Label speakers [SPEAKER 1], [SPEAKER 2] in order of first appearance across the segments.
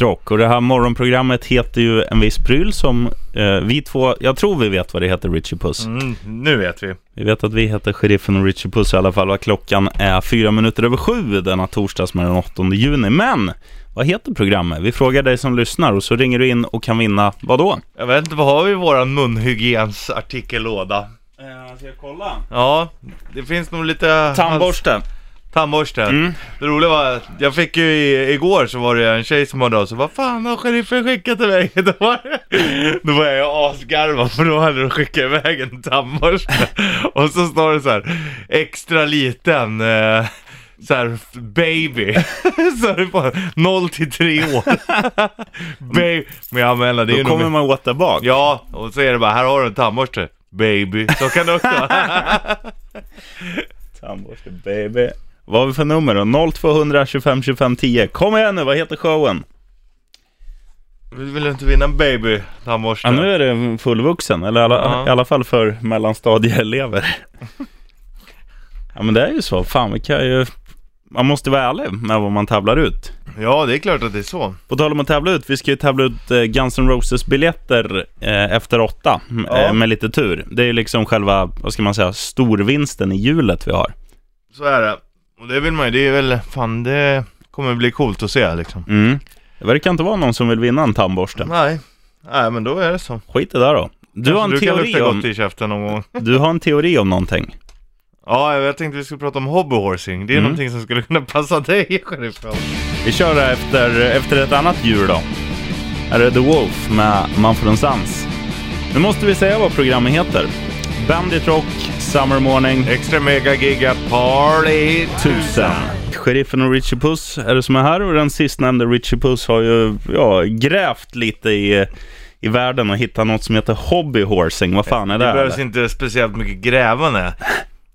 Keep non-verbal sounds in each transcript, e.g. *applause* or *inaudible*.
[SPEAKER 1] Rock och det här morgonprogrammet heter ju en viss pryl som eh, vi två, jag tror vi vet vad det heter, Richie Puss.
[SPEAKER 2] Mm, nu vet vi.
[SPEAKER 1] Vi vet att vi heter Sheriffen och Richie Puss i alla fall och att klockan är fyra minuter över sju denna torsdags med den 8 juni. Men vad heter programmet? Vi frågar dig som lyssnar och så ringer du in och kan vinna vad då?
[SPEAKER 2] Jag vet inte, vad har vi i våran munhygiensartikellåda?
[SPEAKER 1] Ska jag kolla?
[SPEAKER 2] Ja, det finns nog lite...
[SPEAKER 1] Tandborste.
[SPEAKER 2] Tandborste.
[SPEAKER 1] Mm.
[SPEAKER 2] Det roliga var att jag fick ju i, igår så var det en tjej som hörde av sig. Vad fan har sheriffen skickat till mig? *laughs* Då var, det- då var jag asgarvad för då hade de skickat iväg en tandborste. *laughs* Och så står det så här extra liten. Eh, så här baby. *laughs* så är det bara 0 till 3 år. *laughs* baby. Men jag menar det är
[SPEAKER 1] Då
[SPEAKER 2] ju
[SPEAKER 1] kommer
[SPEAKER 2] nog...
[SPEAKER 1] man åt där bak.
[SPEAKER 2] Ja, och så är det bara här har du en tandborste. Baby. Så kan det också
[SPEAKER 1] *laughs*
[SPEAKER 2] vara.
[SPEAKER 1] Tandborste baby. Vad har vi för nummer då? 0200 25 25 10. Kom igen nu, vad heter showen?
[SPEAKER 2] Vi vill inte vinna en baby tandborste.
[SPEAKER 1] Ja, nu är det fullvuxen, eller i alla,
[SPEAKER 2] Ja.
[SPEAKER 1] i alla fall för
[SPEAKER 2] *laughs*
[SPEAKER 1] mellanstadieelever. ja, men det är ju så. Fan, vi kan ju... Man måste vara ärlig med vad man tävlar ut.
[SPEAKER 2] Ja, det är klart att det är så.
[SPEAKER 1] På tal om att tävla ut, vi ska ju tävla ut eh, Guns N' Roses-biljetter eh, efter åtta, m-
[SPEAKER 2] Ja.
[SPEAKER 1] eh, med lite tur. Det är ju liksom själva, vad ska man säga, storvinsten i hjulet vi har.
[SPEAKER 2] Så är det. Och det vill man ju, det är väl, fan det kommer bli coolt att se liksom.
[SPEAKER 1] Mm. Det verkar inte vara någon som vill vinna en tandborste.
[SPEAKER 2] Nej, nej men då är det så.
[SPEAKER 1] Skit i det där då. Du har, en
[SPEAKER 2] du kan
[SPEAKER 1] teori
[SPEAKER 2] lukta gott
[SPEAKER 1] om,
[SPEAKER 2] i käften någon gång. *laughs*
[SPEAKER 1] du har en teori om någonting.
[SPEAKER 2] Ja, jag tänkte vi skulle prata om hobbyhorsing. Det är
[SPEAKER 1] Mm.
[SPEAKER 2] någonting som skulle kunna *laughs* passa dig, sheriffen.
[SPEAKER 1] Vi kör det efter, efter ett annat djur då. Här är The Wolf med Man får en sans. Nu måste vi säga vad programmet heter. Bandit Rock, Summer Morning,
[SPEAKER 2] Extra mega giga party
[SPEAKER 1] 1000. Sheriffen och Richie Puss är det som är här och den sistnämnde Richie Puss har ju ja, grävt lite i, i världen och hittat något som heter hobbyhorsing. Vad fan är det?
[SPEAKER 2] Det behövs
[SPEAKER 1] eller?
[SPEAKER 2] inte speciellt mycket grävande.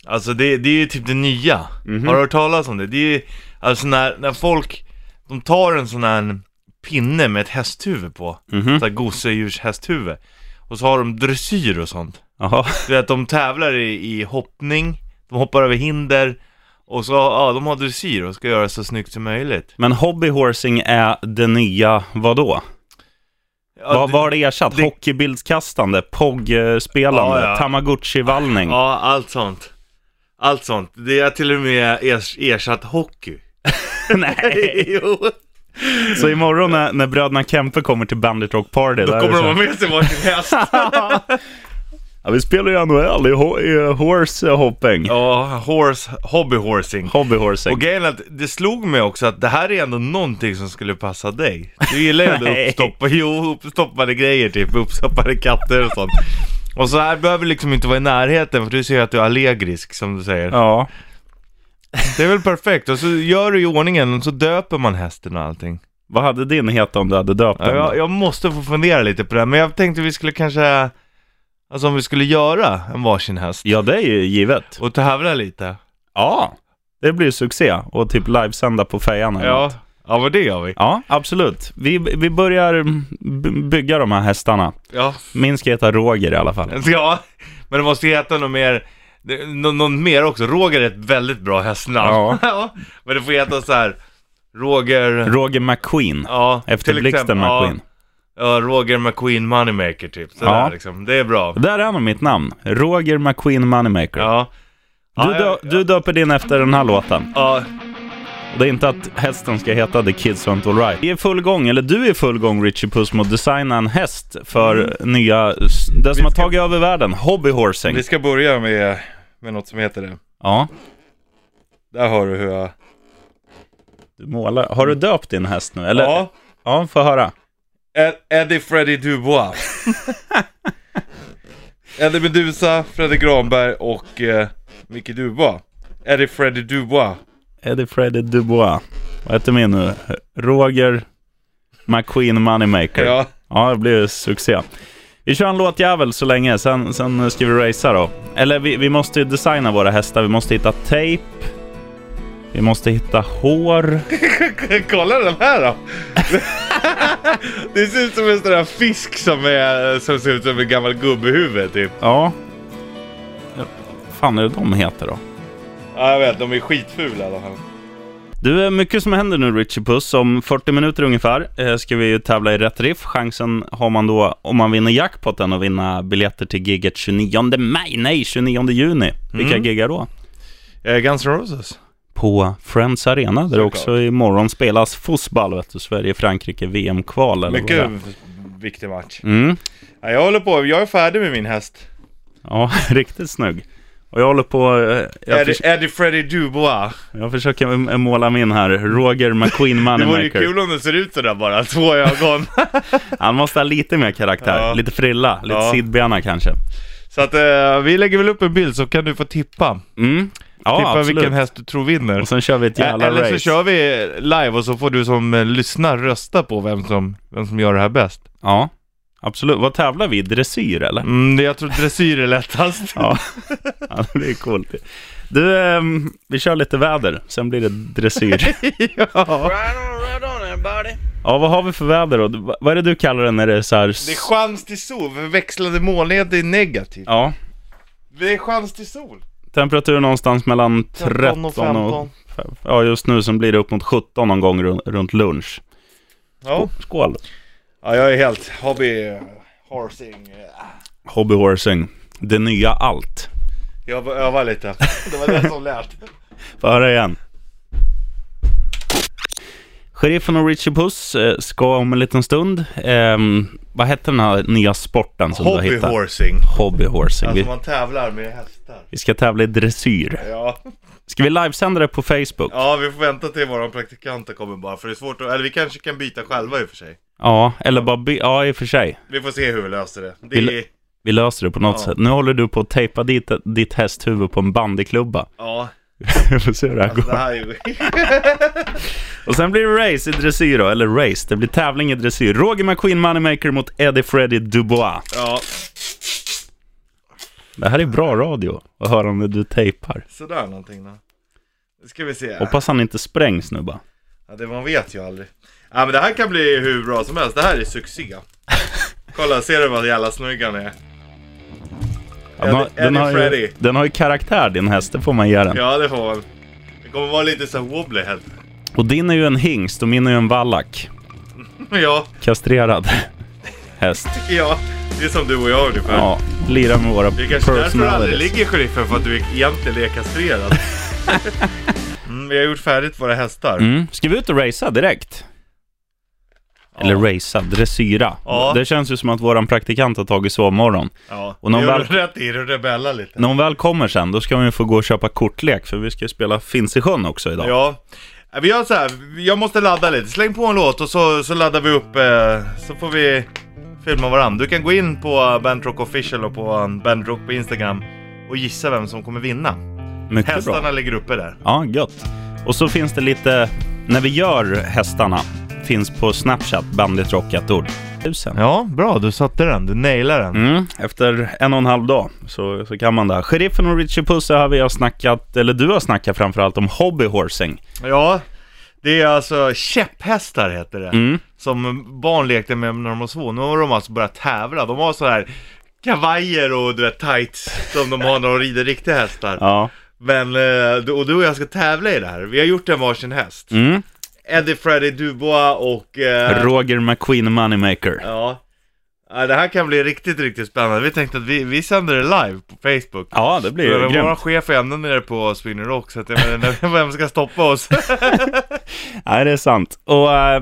[SPEAKER 2] Alltså det, det är ju typ det nya.
[SPEAKER 1] Mhm.
[SPEAKER 2] Har du hört talas om det? Det är ju, alltså när, när folk, de tar en sån här pinne med ett hästhuvud på.
[SPEAKER 1] Mhm.
[SPEAKER 2] Så här gosedjurshästhuvud. Och så har de dressyr och sånt.
[SPEAKER 1] Jaha.
[SPEAKER 2] Du vet, de tävlar i, i hoppning, de hoppar över hinder. Och så, ja, de har dressyr och ska göra det så snyggt som möjligt.
[SPEAKER 1] Men hobbyhorsing är det nya vadå?
[SPEAKER 2] Ja,
[SPEAKER 1] vad,
[SPEAKER 2] det-
[SPEAKER 1] vad har det ersatt?
[SPEAKER 2] det-
[SPEAKER 1] Hockeybildskastande, POG-spelande,
[SPEAKER 2] Ja, ja.
[SPEAKER 1] Tamagotchi-vallning?
[SPEAKER 2] Ja, allt sånt. Allt sånt. Det är till och med ers, ersatt hockey. *laughs*
[SPEAKER 1] Nej.
[SPEAKER 2] jo.
[SPEAKER 1] *laughs* Så imorgon när, när bröderna Kempe kommer till Bandit Rock Party,
[SPEAKER 2] Då
[SPEAKER 1] där
[SPEAKER 2] kommer
[SPEAKER 1] är
[SPEAKER 2] de
[SPEAKER 1] det
[SPEAKER 2] ha
[SPEAKER 1] så här,
[SPEAKER 2] med sig
[SPEAKER 1] *laughs*
[SPEAKER 2] varsin häst.
[SPEAKER 1] ja, vi spelar ju NHL i, ho- i horse eh, hopping.
[SPEAKER 2] ja, horse, hobbyhorsing.
[SPEAKER 1] Hobbyhorsing.
[SPEAKER 2] Och grejen är att det slog mig också att det här är ändå någonting som skulle passa dig. Du gillar ju ändå
[SPEAKER 1] Nej.
[SPEAKER 2] uppstoppa, jo, uppstoppade grejer typ, uppstoppade katter och sånt. Och så här behöver liksom inte vara i närheten för du ser ju att du är allergisk som du säger.
[SPEAKER 1] Ja.
[SPEAKER 2] Det är väl perfekt. Och så gör du i ordningen och så döper man hästen och allting.
[SPEAKER 1] Vad hade din hetat om du hade döpt
[SPEAKER 2] Ja,
[SPEAKER 1] den?
[SPEAKER 2] jag, jag måste få fundera lite på det här, men jag tänkte vi skulle kanske, alltså om vi skulle göra en varsin häst
[SPEAKER 1] ja, det är ju givet.
[SPEAKER 2] och tävla lite.
[SPEAKER 1] Ja. Det blir succé och typ livesända på färjan. eller
[SPEAKER 2] Ja,
[SPEAKER 1] något.
[SPEAKER 2] ja men det gör vi.
[SPEAKER 1] ja, absolut. Vi, vi börjar b- bygga de här hästarna.
[SPEAKER 2] Ja.
[SPEAKER 1] Min ska heta Roger i alla fall.
[SPEAKER 2] *laughs* Ja, men det måste heta något mer, det- nå- någon mer också. Roger är ett väldigt bra hästnamn. *laughs*
[SPEAKER 1] Ja.
[SPEAKER 2] men det får heta så här. Roger...
[SPEAKER 1] Roger McQueen.
[SPEAKER 2] Ja,
[SPEAKER 1] Efter
[SPEAKER 2] till
[SPEAKER 1] Blixten
[SPEAKER 2] exempel-
[SPEAKER 1] McQueen.
[SPEAKER 2] Ja, ja, Roger McQueen Moneymaker typ. Sådär
[SPEAKER 1] Ja.
[SPEAKER 2] liksom. Det är bra.
[SPEAKER 1] Där är nog mitt namn. Roger McQueen Moneymaker.
[SPEAKER 2] Ja.
[SPEAKER 1] Du,
[SPEAKER 2] ja,
[SPEAKER 1] dö- du döper din efter den här låten.
[SPEAKER 2] ja,
[SPEAKER 1] Det är inte att hästen ska heta The Kids Aren't Alright. Vi är i full gång, eller du är i full gång Richie Puss med att designa en häst för nya, s- det som har tagit över världen, hobbyhorsing.
[SPEAKER 2] Mm. vi ska börja med, med något som heter det.
[SPEAKER 1] Ja,
[SPEAKER 2] Där har du hur jag...
[SPEAKER 1] du målar. Har du döpt din häst nu? Eller?
[SPEAKER 2] Ja,
[SPEAKER 1] Ja, få höra.
[SPEAKER 2] Ed- Eddie
[SPEAKER 1] *laughs*
[SPEAKER 2] Freddy Dubois. Eddie Medusa, Freddy Granberg och eh, Micke Dubois. Eddie Freddy Dubois.
[SPEAKER 1] Eddie Freddy Dubois. Vad heter min nu? Roger McQueen Moneymaker.
[SPEAKER 2] Ja.
[SPEAKER 1] Ja, det blir succé. Vi kör en låtjävel så länge, sen, sen ska vi racea då. Eller vi, vi måste ju designa våra hästar. Vi måste hitta tejp. Vi måste hitta hår.
[SPEAKER 2] *laughs* Kolla den
[SPEAKER 1] *laughs*
[SPEAKER 2] här då! det ser ut som en sån där fisk som, är, som ser ut som en gammal gubbehuvud typ.
[SPEAKER 1] Ja. Vad fan är det de heter då?
[SPEAKER 2] Ja, jag vet, de är skitfula i alla fall.
[SPEAKER 1] Du, är mycket som händer nu Richie Puss. Om 40 minuter ungefär eh, ska vi ju tävla i rätt riff. Chansen har man då, om man vinner jackpotten, att vinna biljetter till giget 29 maj. Nej, 29 juni. Vilka
[SPEAKER 2] Mm.
[SPEAKER 1] giggar då?
[SPEAKER 2] Eh, Guns N' Roses.
[SPEAKER 1] På Friends Arena, där
[SPEAKER 2] Såklart.
[SPEAKER 1] också imorgon spelas fotboll, vet du. Sverige-Frankrike VM-kval. eller vad det
[SPEAKER 2] Mycket
[SPEAKER 1] är.
[SPEAKER 2] viktig match.
[SPEAKER 1] Mm.
[SPEAKER 2] Ja, jag håller på, jag är färdig med min häst.
[SPEAKER 1] Ja, *laughs* riktigt snygg. Och jag håller på... eh, Jag,
[SPEAKER 2] Eddie,
[SPEAKER 1] förs-
[SPEAKER 2] Eddie Freddy Dubois.
[SPEAKER 1] jag försöker m- måla min här. Roger McQueen
[SPEAKER 2] *laughs* Det vore ju
[SPEAKER 1] Moneymaker.
[SPEAKER 2] kul om det ser ut sådär bara, *laughs* två ögon.
[SPEAKER 1] *laughs* Han måste ha lite mer karaktär.
[SPEAKER 2] Ja.
[SPEAKER 1] Lite frilla, lite
[SPEAKER 2] Ja.
[SPEAKER 1] sidbena kanske.
[SPEAKER 2] så att eh, vi lägger väl upp en bild så kan du få tippa.
[SPEAKER 1] Mm. Ja,
[SPEAKER 2] tippa
[SPEAKER 1] absolut.
[SPEAKER 2] vilken häst du tror vinner.
[SPEAKER 1] Och sen kör vi ett
[SPEAKER 2] Eh,
[SPEAKER 1] jävla
[SPEAKER 2] Eller
[SPEAKER 1] race.
[SPEAKER 2] så kör vi live och så får du som eh, lyssnar rösta på vem som, vem som gör det här bäst.
[SPEAKER 1] Ja, absolut. Vad tävlar vi i? Dressyr eller?
[SPEAKER 2] Mm, det- jag tror dressyr är lättast.
[SPEAKER 1] Ja. ja, det blir coolt. Du, ehm, vi kör lite väder, sen blir det dressyr.
[SPEAKER 2] ja.
[SPEAKER 3] Right on, right on everybody.
[SPEAKER 1] Ja, vad har vi för väder då? Du- va- Vad är det du kallar det när det är så här...
[SPEAKER 2] Det är chans till sol, för växlande molnighet är negativt.
[SPEAKER 1] Ja,
[SPEAKER 2] Det är chans till sol.
[SPEAKER 1] temperatur någonstans mellan 13 och...
[SPEAKER 2] 15.
[SPEAKER 1] Ja, just nu så blir det upp mot 17 någon gång run- runt lunch.
[SPEAKER 2] Ja.
[SPEAKER 1] Skål!
[SPEAKER 2] ja, jag är helt hobby eh, horsing.
[SPEAKER 1] Hobbyhorsing, det nya allt.
[SPEAKER 2] Jag övar lite. *laughs* Det var det som lät.
[SPEAKER 1] Få höra igen. Sheriffen och Richie Puss eh, ska om en liten stund... ehm, vad hette den här nya sporten som du har
[SPEAKER 2] Hobby
[SPEAKER 1] hittat?
[SPEAKER 2] horsing.
[SPEAKER 1] Hobbyhorsing.
[SPEAKER 2] Alltså
[SPEAKER 1] Vi,
[SPEAKER 2] man tävlar med hästar.
[SPEAKER 1] vi ska tävla i dressyr.
[SPEAKER 2] Ja.
[SPEAKER 1] Ska vi livesända det på Facebook?
[SPEAKER 2] ja, vi får vänta till våran praktikant kommer bara, för det är svårt att... Eller vi kanske kan byta själva i och för sig.
[SPEAKER 1] Ja, eller bara by- Ja, i och för sig.
[SPEAKER 2] Vi får se hur vi löser det. det
[SPEAKER 1] Vill-
[SPEAKER 2] är,
[SPEAKER 1] Vi löser det på något
[SPEAKER 2] Ja.
[SPEAKER 1] sätt. Nu håller du på att tejpa dit, ditt hästhuvud på en bandyklubba. *laughs*
[SPEAKER 2] ja,
[SPEAKER 1] Vi får se hur det här
[SPEAKER 2] det
[SPEAKER 1] går.
[SPEAKER 2] här är ju... *laughs*
[SPEAKER 1] Och sen blir det race i dressyr då, eller race. Det blir tävling i dressyr. Roger McQueen Moneymaker mot Eddie Freddy Dubois.
[SPEAKER 2] Ja,
[SPEAKER 1] Det här är bra radio att höra om när du tejpar.
[SPEAKER 2] sådär någonting då. Nu ska vi se.
[SPEAKER 1] Hoppas han inte sprängs nu bara.
[SPEAKER 2] Ja, det man vet ju aldrig. Ja, men det här kan bli hur bra som helst. Det här är
[SPEAKER 1] *laughs*
[SPEAKER 2] succé. Kolla, ser du vad jävla snygg han är?
[SPEAKER 1] Ja, den, har,
[SPEAKER 2] Eddie-
[SPEAKER 1] den, har
[SPEAKER 2] Eddie
[SPEAKER 1] ju,
[SPEAKER 2] Freddy.
[SPEAKER 1] den har ju karaktär din häst, det får man ge den.
[SPEAKER 2] Ja, det får man. Det kommer vara lite så här wobbly head.
[SPEAKER 1] Och din är ju en hingst och min är ju en vallack.
[SPEAKER 2] *laughs* Ja,
[SPEAKER 1] Kastrerad *laughs* häst.
[SPEAKER 2] ja. Det är som du och jag ungefär.
[SPEAKER 1] Ja, lira med våra
[SPEAKER 2] Det är kanske därför du aldrig
[SPEAKER 1] personalities.
[SPEAKER 2] ligger i sheriffen, för att du egentligen är
[SPEAKER 1] *laughs*
[SPEAKER 2] kastrerad. Mm, vi har gjort färdigt våra hästar.
[SPEAKER 1] Mm. Ska vi ut och racea direkt? Eller racea, dressyra.
[SPEAKER 2] Ja.
[SPEAKER 1] Det känns ju som att våran praktikant har tagit sovmorgon.
[SPEAKER 2] Ja,
[SPEAKER 1] Och någon
[SPEAKER 2] det gör
[SPEAKER 1] väl-
[SPEAKER 2] du rätt i. Du rebellar lite.
[SPEAKER 1] När hon väl kommer sen, då ska hon ju få gå och köpa kortlek, för vi ska ju spela Finns i sjön också idag.
[SPEAKER 2] Ja. Äh, Vi gör så här, jag måste ladda lite. Släng på en låt och så, så laddar vi upp, eh, så får vi filma varandra. Du kan gå in på eh, Bandrock official och på eh, Bandrock på Instagram och gissa vem som kommer vinna.
[SPEAKER 1] Mycket
[SPEAKER 2] Hästarna
[SPEAKER 1] bra.
[SPEAKER 2] ligger uppe där.
[SPEAKER 1] Ja, gött. Och så finns det lite, när vi gör hästarna, finns på Snapchat, Bandit Rock, ett ord. Tusen.
[SPEAKER 2] Ja, bra. Du satte den. Du nailade den.
[SPEAKER 1] Mm, efter en och en halv dag så, så kan man det. här. Sheriffen och Richie Puss har vi har snackat, eller du har snackat framförallt om hobbyhorsing.
[SPEAKER 2] Ja, det är alltså käpphästar heter det.
[SPEAKER 1] Mm.
[SPEAKER 2] Som barn lekte med när de var små. Nu har de alltså börjat tävla. De har så här kavajer och du vet tights som de har när de rider riktiga hästar.
[SPEAKER 1] Ja.
[SPEAKER 2] Men, eh, du- och du och jag ska tävla i det här. Vi har gjort en varsin häst.
[SPEAKER 1] Mm.
[SPEAKER 2] Eddie Freddy Dubois och... Eh,
[SPEAKER 1] Roger McQueen Moneymaker.
[SPEAKER 2] ja. Ja, Det här kan bli riktigt, riktigt spännande. Vi tänkte att vi, vi sänder det live på Facebook.
[SPEAKER 1] Ja, det blir ju
[SPEAKER 2] Men vår
[SPEAKER 1] grymt.
[SPEAKER 2] chef är ändå nere på Sweden Rock, så att jag menar, *laughs* vem ska stoppa oss?
[SPEAKER 1] Nej, det är sant. Och eh,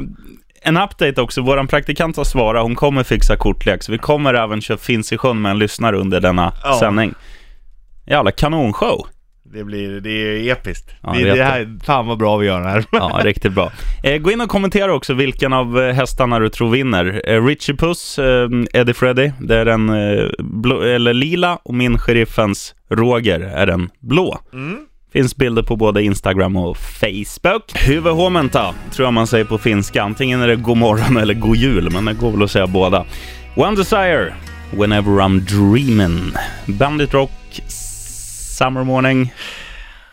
[SPEAKER 1] en update också. Vår praktikant har svarat. Hon kommer fixa kortlek. Så vi kommer även köra Finns i sjön med en lyssnare under denna
[SPEAKER 2] Ja.
[SPEAKER 1] sändning. Jävla kanonshow.
[SPEAKER 2] Det blir, det är episkt.
[SPEAKER 1] Ja,
[SPEAKER 2] det,
[SPEAKER 1] jag vet
[SPEAKER 2] det här, fan vad bra vi gör det här.
[SPEAKER 1] Ja, riktigt bra. Eh, gå in och kommentera också vilken av eh, hästarna du tror vinner. Eh, Richie Puss, eh, Eddie Freddy, det är den eh, blå, eller lila och min sheriffens Roger är den blå. Finns bilder på både Instagram och Facebook. Hyvähuomenta tror jag man säger på finska. Antingen är det god morgon eller god jul, men det går väl att säga båda. One Desire, Whenever I'm Dreamin'. Bandit Rock, Summer Morning,
[SPEAKER 2] *laughs*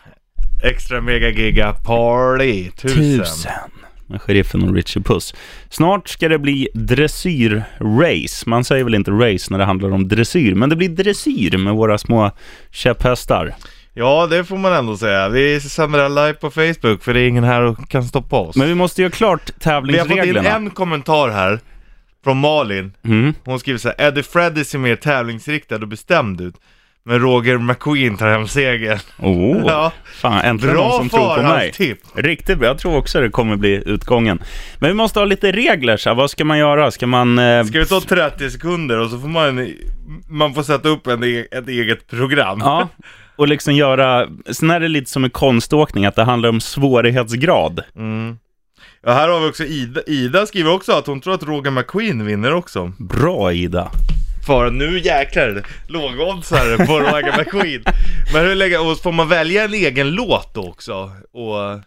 [SPEAKER 2] Extra mega giga party, tusen.
[SPEAKER 1] Tusen. Med sheriffen och Richie Puss. Snart ska det bli dressyrrace. Man säger väl inte race när det handlar om dressyr, men det blir dressyr med våra små käpphästar.
[SPEAKER 2] Ja, det får man ändå säga. Vi sänder live på Facebook för det är ingen här och kan stoppa oss.
[SPEAKER 1] Men vi måste göra klart
[SPEAKER 2] Vi har fått in
[SPEAKER 1] tävlingsreglerna.
[SPEAKER 2] en kommentar här från Malin.
[SPEAKER 1] Mm.
[SPEAKER 2] Hon skriver så här, Eddie Freddy ser mer tävlingsriktad och bestämd ut. Men Roger McQueen tar hem segern.
[SPEAKER 1] Oh,
[SPEAKER 2] *laughs* Ja.
[SPEAKER 1] fan, äntligen någon
[SPEAKER 2] Bra
[SPEAKER 1] som tror på mig.
[SPEAKER 2] förhandstipp!
[SPEAKER 1] Riktigt bra. Jag tror också det kommer bli utgången. Men vi måste ha lite regler. Så här. Vad ska man göra? Ska man... Eh...
[SPEAKER 2] Ska vi ta 30 sekunder och så får man, e-, man får sätta upp en, e- ett eget program.
[SPEAKER 1] Ja. Och liksom göra... Sen är det lite som en konståkning, att det handlar om svårighetsgrad.
[SPEAKER 2] Mm. Ja, här har vi också Ida. Ida skriver också att hon tror att Roger McQueen vinner också.
[SPEAKER 1] Bra, Ida.
[SPEAKER 2] För nu jäklar,
[SPEAKER 1] *laughs*
[SPEAKER 2] lågoddsare på Roger McQueen. Men hur lägger, och får man välja en egen låt då också? Och,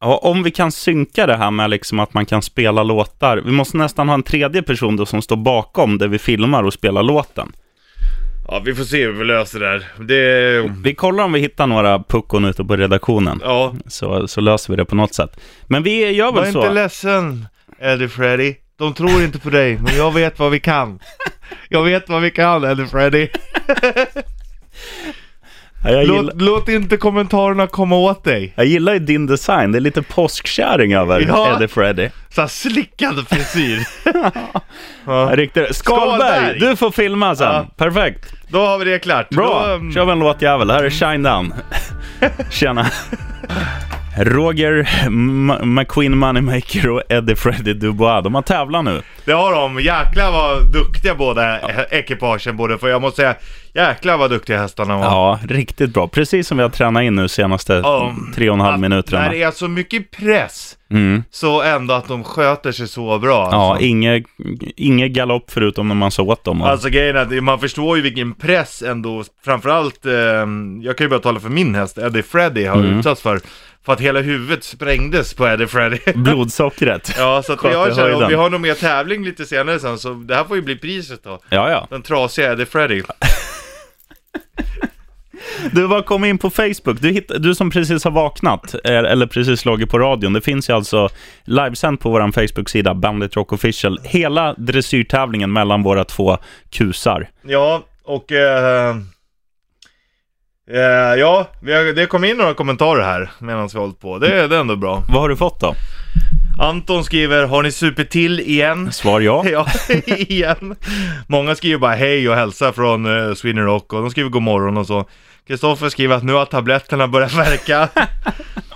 [SPEAKER 1] Ja, om vi kan synka det här med liksom att man kan spela låtar. Vi måste nästan ha en tredje person då som står bakom där vi filmar och spelar låten.
[SPEAKER 2] ja, vi får se hur vi löser det här. Det,
[SPEAKER 1] Vi kollar om vi hittar några puckon ute på redaktionen.
[SPEAKER 2] ja.
[SPEAKER 1] Så, så löser vi det på något sätt. Men vi gör
[SPEAKER 2] Var
[SPEAKER 1] väl
[SPEAKER 2] inte
[SPEAKER 1] så.
[SPEAKER 2] ledsen, Eddie Freddy. De tror inte på dig, men jag vet vad vi kan. Jag vet vad vi kan, Eddie Freddy.
[SPEAKER 1] Ja, Jag gillar,
[SPEAKER 2] Låt, låt inte kommentarerna komma åt dig.
[SPEAKER 1] jag gillar ju din design. Det är lite påskkärring över
[SPEAKER 2] Ja.
[SPEAKER 1] Eddie Freddy.
[SPEAKER 2] Så här
[SPEAKER 1] *laughs*
[SPEAKER 2] slickad frisyr.
[SPEAKER 1] Ja,
[SPEAKER 2] Ja.
[SPEAKER 1] Riktigt. Skalberg,
[SPEAKER 2] Skalberg!
[SPEAKER 1] du får filma sen.
[SPEAKER 2] Ja.
[SPEAKER 1] Perfekt.
[SPEAKER 2] Då har vi det klart. Då,
[SPEAKER 1] Bra,
[SPEAKER 2] um,
[SPEAKER 1] kör vi en låtjävel. Här är Shine
[SPEAKER 2] *laughs*
[SPEAKER 1] Down. Tjena. Roger M- McQueen Moneymaker och Eddie Freddy Dubois, de har tävlat nu.
[SPEAKER 2] Det har de. Jäklar vad duktiga båda ja. ekipagen både för jag måste säga, jäklar vad duktiga hästarna var.
[SPEAKER 1] Ja, riktigt bra. Precis som vi har tränat in nu senaste
[SPEAKER 2] Ja.
[SPEAKER 1] tre och en halv
[SPEAKER 2] Att
[SPEAKER 1] minuterna.
[SPEAKER 2] När det är så mycket press,
[SPEAKER 1] Mm.
[SPEAKER 2] så ändå att de sköter sig så bra.
[SPEAKER 1] Ja,
[SPEAKER 2] alltså.
[SPEAKER 1] inge, inge galopp förutom när man sa åt dem.
[SPEAKER 2] Alltså grejen är att man förstår ju vilken press ändå, framförallt, eh, jag kan ju bara tala för min häst, Eddie Freddy har utsatts för. För att hela huvudet sprängdes på Eddie Freddy.
[SPEAKER 1] Blodsockret.
[SPEAKER 2] ja, så att
[SPEAKER 1] Sköt i
[SPEAKER 2] jag känner,
[SPEAKER 1] höjden.
[SPEAKER 2] om vi har någon mer tävling lite senare sen, så det här får ju bli priset då.
[SPEAKER 1] Ja, ja.
[SPEAKER 2] Den trasiga Eddie Freddy.
[SPEAKER 1] Du bara kom in på Facebook. Du, hitt, du som precis har vaknat, eh, eller precis slagit på radion. Det finns ju alltså livesänt på vår Facebook-sida, Bandit Rock Official. Hela dressyrtävlingen mellan våra två kusar.
[SPEAKER 2] Ja, och... Eh, eh, ja, vi har, det kom in några kommentarer här medan vi har hållit på. Det, det är ändå bra.
[SPEAKER 1] Vad har du fått då?
[SPEAKER 2] Anton skriver, har ni supit till igen?
[SPEAKER 1] Svar ja.
[SPEAKER 2] *laughs* Ja, igen. Många skriver bara hej och hälsa från eh, Sweden Rock och de skriver god morgon och så. Kristoffer skriver att nu har tabletterna börjat verka. *laughs*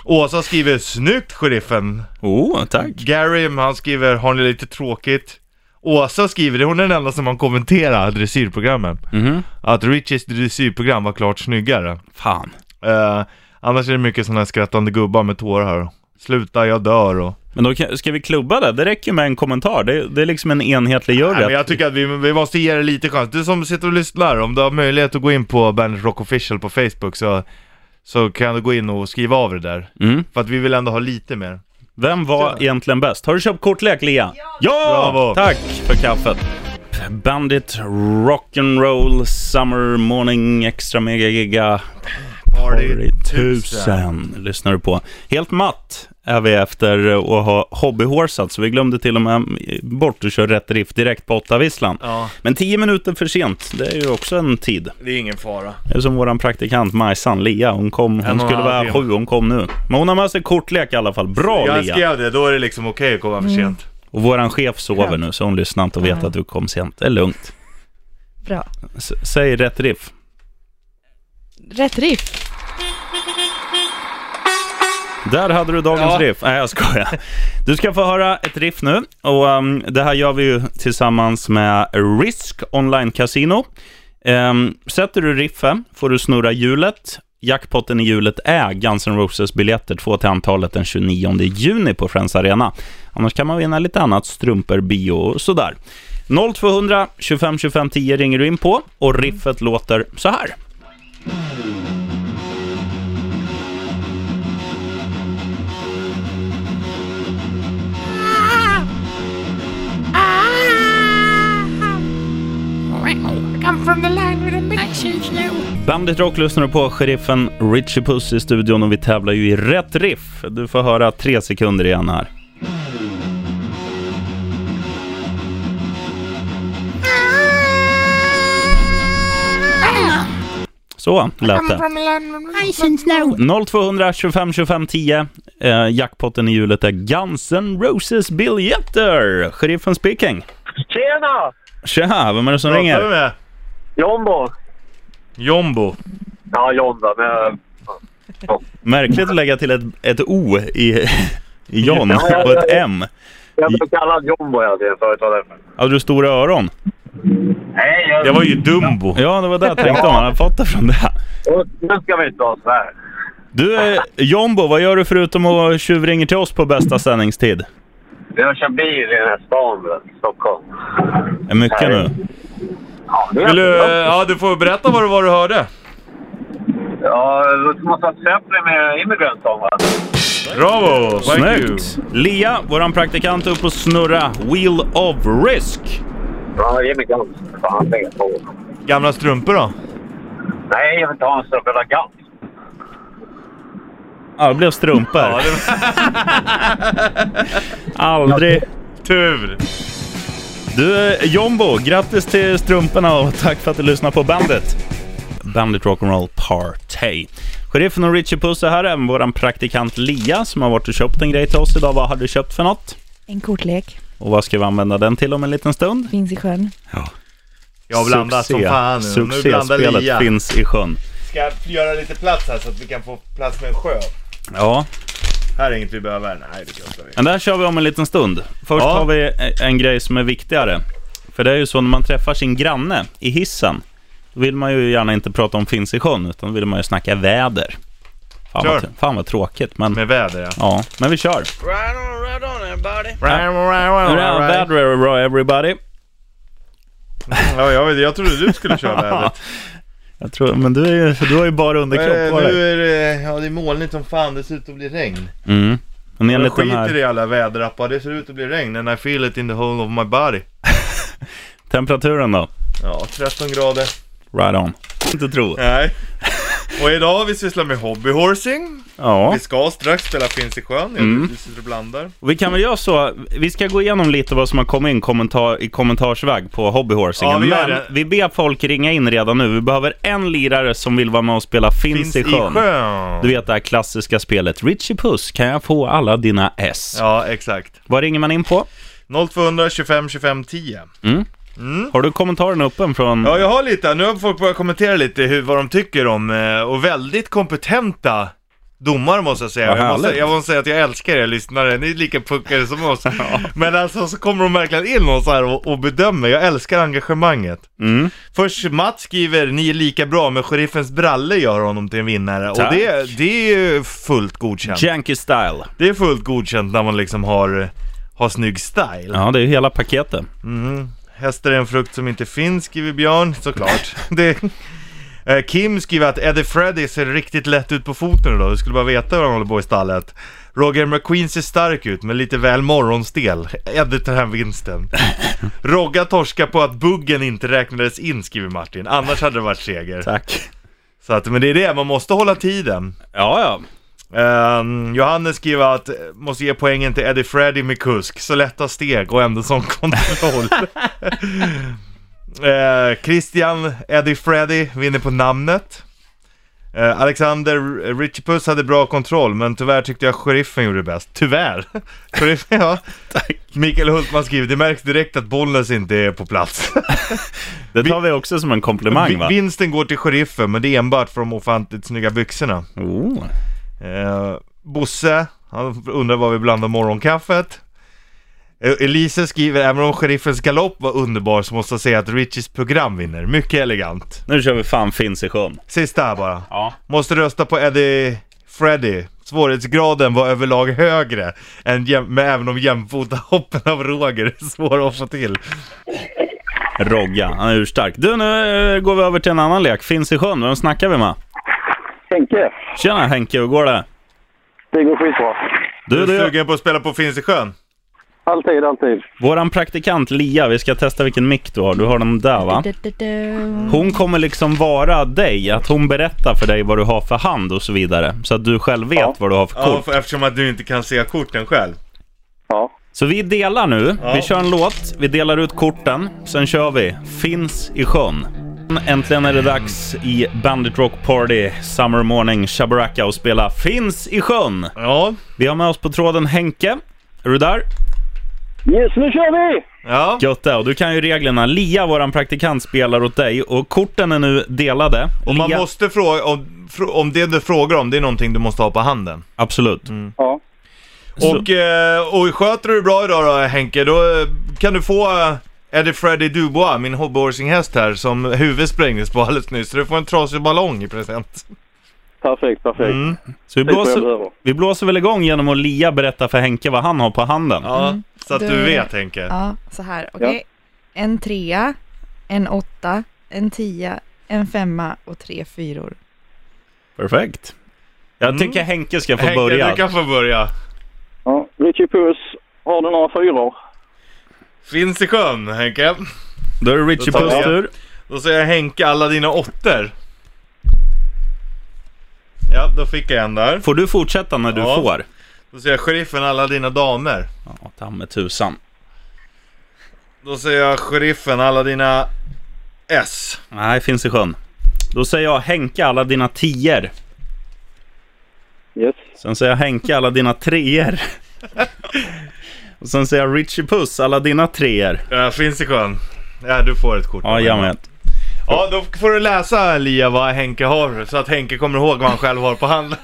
[SPEAKER 2] Åsa skriver snyggt sheriffen.
[SPEAKER 1] Oh, tack.
[SPEAKER 2] Gary, han skriver har ni lite tråkigt? Åsa skriver, det är hon är den enda som har kommenterat dressyrprogrammen.
[SPEAKER 1] Mhm.
[SPEAKER 2] Att Richies dressyrprogram var klart snyggare.
[SPEAKER 1] Fan.
[SPEAKER 2] Eh, annars är det mycket sådana här skrattande gubbar med tårar här. Sluta, jag dör och...
[SPEAKER 1] Men då kan, ska vi klubba det? Det räcker med en kommentar. Det, det är liksom en enhetlig jury.
[SPEAKER 2] Nej, men jag tycker att vi, vi måste ge det lite chans. Du som sitter och lyssnar, om du har möjlighet att gå in på Bandit Rock Official på Facebook så, så kan du gå in och skriva av det där.
[SPEAKER 1] Mm.
[SPEAKER 2] För att vi vill ändå ha lite mer.
[SPEAKER 1] Vem var egentligen bäst? Har du köpt kortlek, Lea? Ja!
[SPEAKER 2] Bravo.
[SPEAKER 1] Tack för kaffet. Bandit Rock'n'Roll Summer Morning Extra Mega Giga Party 1000 lyssnar du på. Helt matt är vi efter att ha hobbyhorsat, så vi glömde till och med bort att köra rätt drift direkt på åttavisslan.
[SPEAKER 2] Ja,
[SPEAKER 1] Men 10 minuter för sent, det är ju också en tid.
[SPEAKER 2] det är ingen fara.
[SPEAKER 1] Det är som våran praktikant Majsan, Lea, hon kom,
[SPEAKER 2] och en
[SPEAKER 1] hon skulle
[SPEAKER 2] halv
[SPEAKER 1] vara
[SPEAKER 2] timme.
[SPEAKER 1] sju, hon kom nu. Men hon har med sig kortlek i alla fall. Bra
[SPEAKER 2] Jag
[SPEAKER 1] Lea!
[SPEAKER 2] skrev det, då är det liksom okej att komma för sent.
[SPEAKER 1] Och våran chef sover nu, så hon lyssnar inte och vet att du kom sent. Det är lugnt.
[SPEAKER 3] Bra.
[SPEAKER 1] S- säg rätt riff.
[SPEAKER 3] Rätt riff.
[SPEAKER 1] Där hade du dagens
[SPEAKER 2] Ja.
[SPEAKER 1] riff. Nej, jag skojar. Du ska få höra ett riff nu. Och ehm, Det här gör vi ju tillsammans med Risk Online Casino. Ehm, sätter du riffen får du snurra hjulet. Jackpotten i hjulet är Guns N' Roses-biljetter, två till antalet, den 29 juni på Friends Arena. Annars kan man vinna lite annat, strumpor, bio och sådär. 0200 25 25 10 ringer du in på och riffet låter så här.
[SPEAKER 4] Ah! Come from the line with a mixer's new.
[SPEAKER 1] Bandit Rock lyssnar du på sheriffen Richie Puss i studion och vi tävlar ju i rätt riff. Du får höra tre sekunder igen här. Så lät det.
[SPEAKER 4] from the land with I sense now.
[SPEAKER 1] 0200 25 25 10. Eh, jackpotten i hjulet är Guns N' Roses biljetter. Sheriffen speaking.
[SPEAKER 5] Tjena!
[SPEAKER 1] Tja, vem är det som
[SPEAKER 2] Pratar vi
[SPEAKER 1] ringer?
[SPEAKER 2] med?
[SPEAKER 5] Jombo!
[SPEAKER 2] Jombo.
[SPEAKER 5] Ja, John då, men jag...
[SPEAKER 1] Märkligt att lägga till ett, ett O i, i John
[SPEAKER 5] *laughs* ja,
[SPEAKER 1] och ett M.
[SPEAKER 5] Jag blev kallad Jombo hela tiden förut, var därför.
[SPEAKER 1] Hade du stora öron?
[SPEAKER 5] Nej, jag...
[SPEAKER 2] Jag var
[SPEAKER 1] Mm.
[SPEAKER 2] ju Dumbo.
[SPEAKER 1] Ja, det var det jag tänkte om. Han hade fått det från det.
[SPEAKER 5] Nu ska vi inte ha sådär.
[SPEAKER 1] Du, eh, Jombo, vad gör du förutom att tjuvringer till oss på bästa sändningstid?
[SPEAKER 5] Jag kör bil i den här stan, vet du, Stockholm.
[SPEAKER 1] Är mycket nu.
[SPEAKER 5] Ja, det är
[SPEAKER 2] Vill du, eh,
[SPEAKER 5] jättebra.
[SPEAKER 2] ja, du får berätta vad det var du hörde.
[SPEAKER 5] Ja, det måste ha Zeppelin med Immigrant Song, va?
[SPEAKER 2] Bravo! Thank you.
[SPEAKER 1] Snyggt! Lea, våran praktikant, upp och snurra. Wheel of Risk.
[SPEAKER 5] Ja, Immigrant. Fan, lägg på.
[SPEAKER 2] Gamla strumpor då?
[SPEAKER 5] Nej, jag vill inte ha en sån jävla gatt.
[SPEAKER 1] Ja, det blev strumpor. *laughs* Aldrig.
[SPEAKER 2] Tur!
[SPEAKER 1] Du, eh, Jombo, grattis till strumporna och tack för att du lyssnar på Bandit. Bandit Rock'n'Roll Party. Sheriffen och Richie Puss är här, även våran praktikant Lia som har varit och köpt en grej till oss idag. Vad har du köpt för något?
[SPEAKER 3] En kortlek.
[SPEAKER 1] Och vad ska vi använda den till om en liten stund?
[SPEAKER 3] Finns i sjön.
[SPEAKER 2] Jag har blandat som
[SPEAKER 1] Succé.
[SPEAKER 2] fan nu. nu blandar
[SPEAKER 1] Succéspelet
[SPEAKER 2] Lia.
[SPEAKER 1] finns i sjön.
[SPEAKER 2] Ska jag göra lite plats här så att vi kan få plats med en sjö?
[SPEAKER 1] Ja,
[SPEAKER 2] Här är inget vi behöver. Nej, det kastar vi.
[SPEAKER 1] men där kör vi om en liten stund. Först
[SPEAKER 2] Ja.
[SPEAKER 1] har vi e- en grej som är viktigare. För det är ju så när man träffar sin granne i hissen, då vill man ju gärna inte prata om finns i sjön, utan då vill man ju snacka väder. Fan,
[SPEAKER 2] Kör.
[SPEAKER 1] vad, fan vad tråkigt, men
[SPEAKER 2] Med väder ja.
[SPEAKER 1] ja, men vi kör.
[SPEAKER 6] Right on, right on, everybody.
[SPEAKER 1] Bra, Väder är bra everybody.
[SPEAKER 2] Ja, jag, vet, jag trodde du skulle *laughs* köra vädret.
[SPEAKER 1] *laughs* Jag tror, men du, är ju, du har ju bara underkropp på
[SPEAKER 2] Eh,
[SPEAKER 1] dig.
[SPEAKER 2] nu är det, ja, det är molnigt som fan, det ser ut att bli regn.
[SPEAKER 1] Mm. Men
[SPEAKER 2] Jag
[SPEAKER 1] enligt den
[SPEAKER 2] skiter
[SPEAKER 1] här
[SPEAKER 2] i alla väderappar, det ser ut att bli regn and I feel it in the whole of my body.
[SPEAKER 1] temperaturen då?
[SPEAKER 2] Ja, 13 grader.
[SPEAKER 1] Right on. Inte tro. *laughs*
[SPEAKER 2] Nej. Och idag har vi sysslat med hobbyhorsing.
[SPEAKER 1] Ja.
[SPEAKER 2] Vi ska strax spela Finns i sjön.
[SPEAKER 1] Mm.
[SPEAKER 2] Jag Du sitter och blandar.
[SPEAKER 1] Och Vi kan väl göra så, vi ska gå igenom lite vad som har kommit in kommentar, i kommentarsväg på hobbyhorsingen.
[SPEAKER 2] Ja, vi gör
[SPEAKER 1] men
[SPEAKER 2] det.
[SPEAKER 1] vi ber folk ringa in redan nu. Vi behöver en lirare som vill vara med och spela Finns, i, sjön. Du vet det här klassiska spelet. Richie Puss, kan jag få alla dina S?
[SPEAKER 2] Ja, Mm. exakt.
[SPEAKER 1] Vad ringer man in på?
[SPEAKER 2] 0200 25 25 10.
[SPEAKER 1] Har du kommentaren uppen från...
[SPEAKER 2] Ja, jag har lite. här. Nu har folk börjat kommentera lite hur, vad de tycker om, eh, och väldigt kompetenta domare måste jag säga.
[SPEAKER 1] Vad
[SPEAKER 2] Jag måste,
[SPEAKER 1] härligt.
[SPEAKER 2] jag måste säga att jag älskar er lyssnare, ni är lika puckade
[SPEAKER 1] *laughs*
[SPEAKER 2] som oss. Men alltså så kommer de verkligen in och, så här och, och bedömer, jag älskar engagemanget.
[SPEAKER 1] Mm.
[SPEAKER 2] Först Mats skriver, ni är lika bra, men sheriffens bralle gör honom till en vinnare.
[SPEAKER 1] Tack.
[SPEAKER 2] Och det, det är ju fullt godkänt.
[SPEAKER 1] Janky Style.
[SPEAKER 2] Det är fullt godkänt när man liksom har, har snygg style.
[SPEAKER 1] Ja, det är ju hela paketet.
[SPEAKER 2] Mm. Hästar är en frukt som inte finns, skriver Björn, såklart. det... Eh, Kim skriver att Eddie Freddy ser riktigt lätt ut på foten idag, du skulle bara veta hur han håller på i stallet. Roger McQueen ser stark ut, men lite väl morgonstel. Eddie tar hem vinsten. Rogga torskar på att buggen inte räknades in, skriver Martin. Annars hade det varit seger.
[SPEAKER 1] Tack.
[SPEAKER 2] Så att, men det är det, man måste hålla tiden.
[SPEAKER 1] Ja, ja.
[SPEAKER 2] Ehm, Johannes skriver att eh, måste ge poängen till Eddie Freddy med kusk, så lätta steg och ändå sån *laughs* kontroll. Eh, Christian Eddie Freddy vinner på namnet. Eh, Alexander Richipus hade bra kontroll, men tyvärr tyckte jag sheriffen gjorde bäst. Tyvärr! *laughs* Sheriffen, ja. Mikael Hultman skriver, det märks direkt att Bollnäs inte är på plats.
[SPEAKER 1] Det tar vi också som en komplimang, va?
[SPEAKER 2] Vi- *laughs* Vinsten går till sheriffen, men det är enbart för de ofantligt snygga byxorna.
[SPEAKER 1] Oh.
[SPEAKER 2] Eh, Bosse, han undrar vad vi blandar morgonkaffet. Eh, Elise skriver, även om sheriffens galopp var underbar så måste jag säga att Richies program vinner. Mycket elegant.
[SPEAKER 1] Nu kör vi fan Finns i sjön.
[SPEAKER 2] Sista här bara.
[SPEAKER 1] Ja.
[SPEAKER 2] Måste rösta på Eddie Freddy. Svårighetsgraden var överlag högre, än jäm- men även om jämfota hoppen av Roger *laughs* är svåra att få till.
[SPEAKER 1] Rogga, han är urstark. Du, nu eh, går vi över till en annan lek. Finns i sjön, vem snackar vi med?
[SPEAKER 5] Henke,
[SPEAKER 1] Tjena Henke, hur går det?
[SPEAKER 5] det går skitbra.
[SPEAKER 1] Du,
[SPEAKER 2] Är du
[SPEAKER 1] du,
[SPEAKER 2] sugen på att spela på Finns i sjön?
[SPEAKER 5] Alltid, alltid.
[SPEAKER 1] våran praktikant Lia, vi ska testa vilken mick du har. Du har den där va?
[SPEAKER 3] Du, du, du.
[SPEAKER 1] Hon kommer liksom vara dig, att hon berättar för dig vad du har för hand och så vidare. Så att du själv vet vad du har för
[SPEAKER 2] Ja,
[SPEAKER 1] kort.
[SPEAKER 2] för, eftersom att du inte kan se korten själv.
[SPEAKER 5] Ja.
[SPEAKER 1] Så vi delar nu,
[SPEAKER 2] Ja.
[SPEAKER 1] vi kör en låt, vi delar ut korten, sen kör vi Finns i sjön. Äntligen är det dags i Bandit Rock Party Summer Morning Shabaraka och spela Finns i sjön.
[SPEAKER 2] Ja,
[SPEAKER 1] Vi har med oss på tråden Henke. Är du där?
[SPEAKER 7] Yes, nu kör vi!
[SPEAKER 2] ja.
[SPEAKER 1] Gött det. Och du kan ju reglerna. Lia, våran praktikant, spelar åt dig och korten är nu delade.
[SPEAKER 2] Och man
[SPEAKER 1] Lia-
[SPEAKER 2] måste fråga, om, fr- om det du frågar om, det är någonting du måste ha på handen.
[SPEAKER 1] Absolut.
[SPEAKER 2] Mm.
[SPEAKER 7] Ja.
[SPEAKER 1] Så-
[SPEAKER 2] Och, eh, och sköter du bra idag då Henke, då eh, kan du få eh, Eddie Freddy Dubois, min hobbyhorsing-häst här, som huvudet sprängdes på alldeles nyss. Så du får en trasig ballong i present.
[SPEAKER 7] Perfekt, perfekt.
[SPEAKER 2] Mm.
[SPEAKER 1] Så vi
[SPEAKER 7] Det är vad jag
[SPEAKER 1] blåser,
[SPEAKER 7] behöver.
[SPEAKER 1] vi blåser väl igång genom att Lia berätta för Henke vad han har på handen.
[SPEAKER 2] Ja, så att du,
[SPEAKER 3] Du-
[SPEAKER 2] vet Henke.
[SPEAKER 3] Ja, så här. Okej. En trea, en åtta, en tia, en femma och tre fyror.
[SPEAKER 1] Perfekt. Jag
[SPEAKER 2] Mm.
[SPEAKER 1] tycker Henke ska få
[SPEAKER 2] Henke,
[SPEAKER 1] börja.
[SPEAKER 2] du kan få börja.
[SPEAKER 7] Ja. Richie Puss, har du några fyror?
[SPEAKER 2] Finns i sjön Henke.
[SPEAKER 1] Då är det Richie
[SPEAKER 2] Då tar
[SPEAKER 1] Puss
[SPEAKER 2] jag.
[SPEAKER 1] tur.
[SPEAKER 2] Då säger jag Henke alla dina åttor. Ja, då fick jag en där.
[SPEAKER 1] Får du fortsätta när du
[SPEAKER 2] Ja.
[SPEAKER 1] får?
[SPEAKER 2] Då säger jag sheriffen alla dina damer.
[SPEAKER 1] Ja, ta med tusan.
[SPEAKER 2] Då säger jag sheriffen alla dina S.
[SPEAKER 1] Nej, finns i sjön. Då säger jag Henke alla dina tior.
[SPEAKER 7] Yes.
[SPEAKER 1] Sen säger jag Henke alla dina treor. *laughs* Och sen säger jag Richie Puss alla dina treor.
[SPEAKER 2] Ja, finns i sjön. Ja, du får ett kort.
[SPEAKER 1] Ja, jag med.
[SPEAKER 2] Ja, då får du läsa Lia vad Henke har så att Henke kommer ihåg vad han själv har på handen.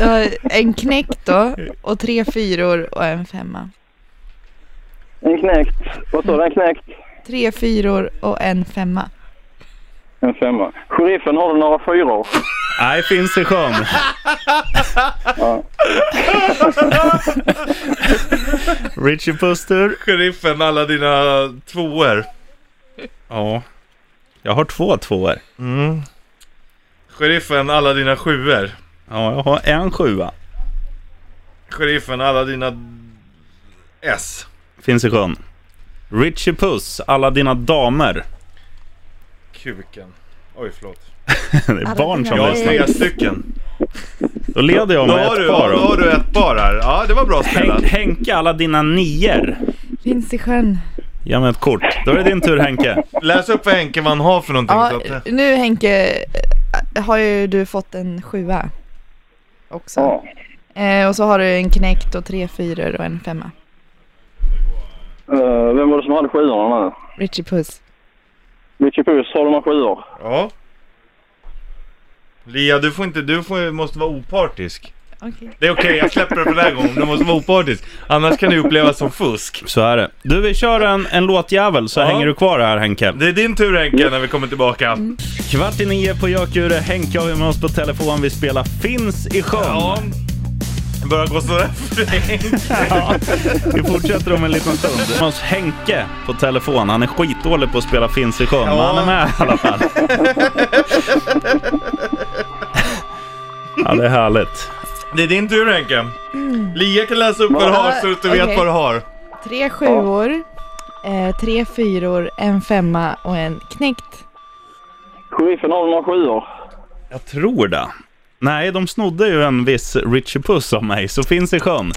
[SPEAKER 3] Eh, En knäck då och tre fyror och en femma.
[SPEAKER 7] En knäckt. Vad sa du? En knäckt?
[SPEAKER 3] Tre fyror och en femma.
[SPEAKER 7] En femma. Sheriffen, har du några fyror?
[SPEAKER 1] Nej, finns i sjön. *laughs*
[SPEAKER 7] Ja.
[SPEAKER 1] Richie Puss tur.
[SPEAKER 2] *laughs* Sheriffen alla dina tvåor.
[SPEAKER 1] Ja. Jag har två tvåor.
[SPEAKER 2] Mm. Sheriffen alla dina sjuor.
[SPEAKER 1] Ja, jag har en sjua.
[SPEAKER 2] Sheriffen alla dina S.
[SPEAKER 1] Finns i sjön. Richie Puss alla dina damer.
[SPEAKER 2] Kuken. Oj, förlåt.
[SPEAKER 1] *laughs* Det är barn som
[SPEAKER 3] dina
[SPEAKER 2] Jag har
[SPEAKER 1] lyssnar.
[SPEAKER 2] tre stycken.
[SPEAKER 1] Då leder jag
[SPEAKER 2] Då
[SPEAKER 1] med
[SPEAKER 2] har,
[SPEAKER 1] ett
[SPEAKER 2] du,
[SPEAKER 1] par.
[SPEAKER 2] då
[SPEAKER 1] då.
[SPEAKER 2] har du ett par här. Ja, det var bra spelat.
[SPEAKER 1] Hen- Henke alla dina nior.
[SPEAKER 3] Finns i sjön.
[SPEAKER 1] Ge mig ett kort. Då är det din tur Henke.
[SPEAKER 2] Läs upp för Henke vad han har för någonting.
[SPEAKER 3] Ja,
[SPEAKER 2] så att,
[SPEAKER 3] nu Henke eh, har ju du fått en sjua också.
[SPEAKER 7] ja.
[SPEAKER 3] Eh, och så har du en knäckt och tre fyror och en femma.
[SPEAKER 7] Eh, vem var det som hade sjuorna nu?
[SPEAKER 3] Richie Puss.
[SPEAKER 7] Richie Puss, har du några sjuor?
[SPEAKER 2] ja. Lia, du får inte, du får, måste vara opartisk.
[SPEAKER 3] Okej.
[SPEAKER 2] Det är okej, jag släpper det för den här gången. Du måste vara opartisk. Annars kan det upplevas som fusk.
[SPEAKER 1] Så är det. Du, vi kör en, en låtjävel så
[SPEAKER 2] Ja.
[SPEAKER 1] hänger du kvar här Henke.
[SPEAKER 2] Det är din tur Henke när vi kommer tillbaka.
[SPEAKER 1] Kvart i nio på Gökure. Henke har vi med oss på telefon. Vi spelar Finns i sjön.
[SPEAKER 2] Ja. Det börjar gå sådär för Henke.
[SPEAKER 1] Vi fortsätter om en liten stund. Med oss Henke på telefon. Han är skitdålig på att spela Finns i sjön, men
[SPEAKER 2] Ja.
[SPEAKER 1] han är med i alla fall. Ja, det är härligt.
[SPEAKER 2] Det är din tur Henke. Lia kan läsa upp vad du har så att du vet
[SPEAKER 3] Okej.
[SPEAKER 2] vad du har.
[SPEAKER 3] Tre sjuor, eh, tre fyror, en femma och en knäckt.
[SPEAKER 7] Sheriffen, har du några sjuor?
[SPEAKER 1] Jag tror det. Nej, de snodde ju en viss Richie Puss av mig, så Finns i sjön.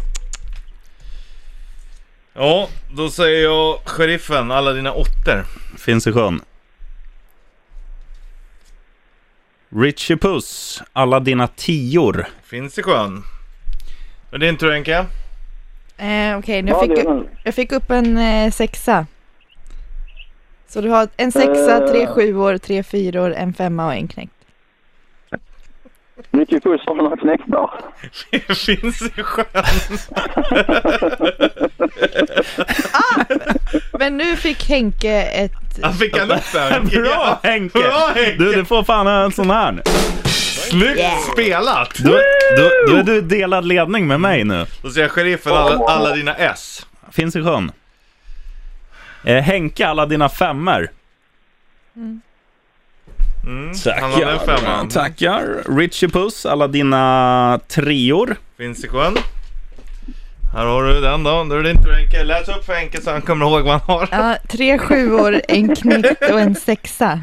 [SPEAKER 2] Ja, då säger jag sheriffen, alla dina åttor.
[SPEAKER 1] Finns i sjön. Richie Puss, alla dina tior.
[SPEAKER 2] Finns i sjön. Det är din tur Henke. *laughs*
[SPEAKER 3] Eh, Okej, nu
[SPEAKER 7] Ja,
[SPEAKER 3] fick
[SPEAKER 7] det
[SPEAKER 3] du...
[SPEAKER 7] är den.
[SPEAKER 3] Jag fick upp en eh, sexa. Så du har en sexa, tre
[SPEAKER 7] Eh.
[SPEAKER 3] sjuor, tre fyror, en femma och en knäckt.
[SPEAKER 7] Richie Puss, har du några knäcktar?
[SPEAKER 2] Finns i sjön.
[SPEAKER 3] Men nu fick Henke ett...
[SPEAKER 2] Han fick han upp där. Henke.
[SPEAKER 1] Bra Henke!
[SPEAKER 2] Bra Henke!
[SPEAKER 1] Du, du får fan en sån här.
[SPEAKER 2] Snyggt spelat!
[SPEAKER 1] Du, du, du, du är delad ledning med mig nu.
[SPEAKER 2] Då säger jag sheriffen, alla, alla dina S.
[SPEAKER 1] Finns i sjön. Eh, Henke, alla dina femmer.
[SPEAKER 2] Mm, han har den
[SPEAKER 1] Tackar.
[SPEAKER 2] femman.
[SPEAKER 1] Tackar. Richie Puss, alla dina treor.
[SPEAKER 2] Finns i sjön. Här har du den då. Då är det din tur Henke. Läs upp för Henke så han kommer ihåg vad han har.
[SPEAKER 3] Ja, tre sjuor, en knäckt och en sexa.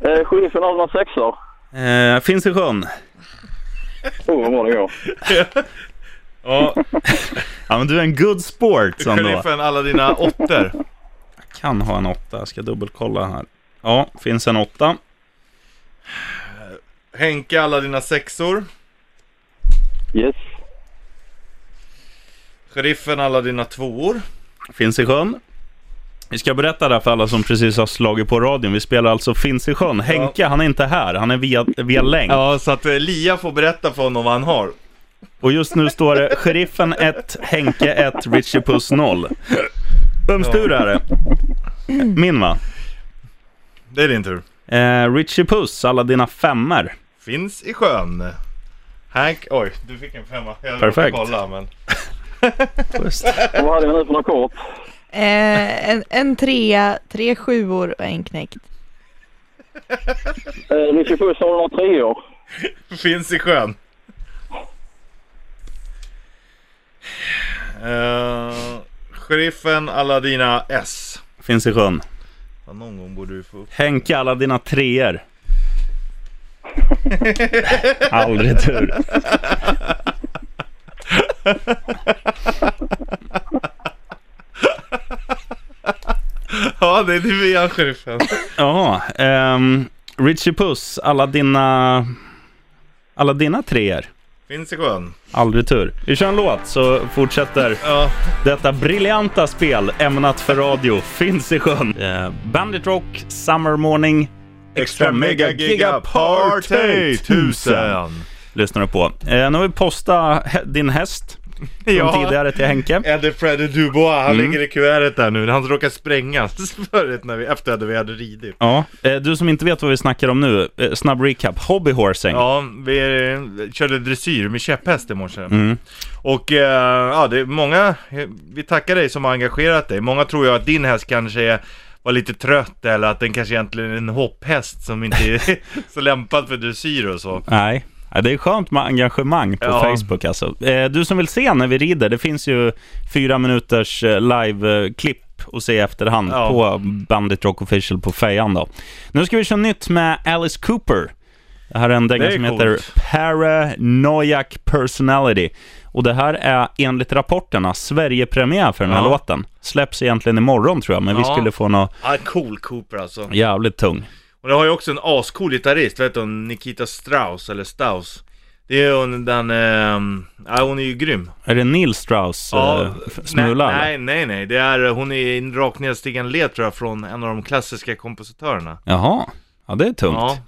[SPEAKER 7] Eh, sheriffen, har du några sexor?
[SPEAKER 1] Eh, finns i sjön.
[SPEAKER 7] Oh, vad bra det går.
[SPEAKER 2] Ja,
[SPEAKER 1] Ja, men du är en good sport ändå.
[SPEAKER 2] sheriffen, alla dina åttor.
[SPEAKER 1] Kan ha en åtta, jag ska dubbelkolla här. Ja, finns en åtta.
[SPEAKER 2] Henke, alla dina sexor.
[SPEAKER 7] Yes.
[SPEAKER 2] Sheriffen, alla dina tvåor.
[SPEAKER 1] Finns i sjön. Vi ska berätta det här för alla som precis har slagit på radion. Vi spelar alltså Finns i sjön. Henke, han är inte här. Han är via, via länk.
[SPEAKER 2] Ja, så att eh, Lia får berätta för honom vad han har.
[SPEAKER 1] Och just nu står det Sheriffen 1, Henke 1, Richie Puss 0. Vems tur är det? Min va?
[SPEAKER 2] Det är din tur.
[SPEAKER 1] Eh, Richie Puss, alla dina femmer.
[SPEAKER 2] Finns i sjön. Hank, oj, du fick en femma. Jag
[SPEAKER 1] Perfekt.
[SPEAKER 2] måste Kolla, men...
[SPEAKER 1] Just.
[SPEAKER 7] Och Vad hade vi nu för något kort?
[SPEAKER 3] Eh, en, en trea, tre sjuor och en knäckt.
[SPEAKER 7] Eh, Richie Puss har några treor.
[SPEAKER 2] Finns i sjön. Uh, sheriffen, alla dina S.
[SPEAKER 1] Finns i sjön.
[SPEAKER 2] Ja, Någon gång borde du få upp.
[SPEAKER 1] Henke, alla dina treor. Aldrig tur.
[SPEAKER 2] Ja, det är du igen, sheriffen.
[SPEAKER 1] Jaha. ehm, Richie Puss, alla dina... Alla dina treor.
[SPEAKER 2] Finns i sjön.
[SPEAKER 1] Aldrig tur. Vi kör en låt så fortsätter
[SPEAKER 2] Ja.
[SPEAKER 1] detta briljanta spel ämnat för radio. Finns i sjön. Eh, Bandit Rock, Summer Morning, Extra Mega Giga Party 1000. Lyssnar du på. Eh, nu har vi postat hä- din häst från
[SPEAKER 2] Ja.
[SPEAKER 1] tidigare till Henke.
[SPEAKER 2] Eddie Freddy Dubois, han ligger i kuvertet där nu. Han råkade sprängas *laughs* förut när vi, efter att vi hade ridit.
[SPEAKER 1] Ja, eh, du som inte vet vad vi snackar om nu, eh, snabb recap. Hobbyhorsing.
[SPEAKER 2] Ja, vi eh, körde dressyr med käpphäst i morse. Och eh, ja, det är många, eh, vi tackar dig som har engagerat dig. Många tror ju att din häst kanske är, var lite trött eller att den kanske egentligen är en hopphäst som inte är *laughs* så lämpad för dressyr och så.
[SPEAKER 1] Nej. Ja, Det är skönt med engagemang på
[SPEAKER 2] Ja.
[SPEAKER 1] Facebook alltså. Eh, Du som vill se när vi rider, det finns ju fyra minuters eh, live-klipp att se i efterhand
[SPEAKER 2] Ja.
[SPEAKER 1] på Bandit Rock Official på fejan då. Nu ska vi köra nytt med Alice Cooper. Det här är en
[SPEAKER 2] Det
[SPEAKER 1] dänga
[SPEAKER 2] är
[SPEAKER 1] som
[SPEAKER 2] coolt.
[SPEAKER 1] heter Paranoiac Personality. Och det här är enligt rapporterna Sverige-premiär för den här
[SPEAKER 2] Ja.
[SPEAKER 1] låten. Släpps egentligen imorgon tror jag, men vi
[SPEAKER 2] Ja.
[SPEAKER 1] skulle få något
[SPEAKER 2] Ja, cool Cooper alltså.
[SPEAKER 1] jävligt tung.
[SPEAKER 2] Och det har ju också en ascool gitarrist, vet du, Nikita Strauss eller Staus. Det är hon, den, ehm, ja hon är ju grym.
[SPEAKER 1] Är det Neil Strauss eh, f- smula? eller?
[SPEAKER 2] Nej, nej, nej, det är, eh, hon är en rakt nedstigande led tror jag från en av de klassiska kompositörerna.
[SPEAKER 1] Jaha, ja det är tungt. Ja.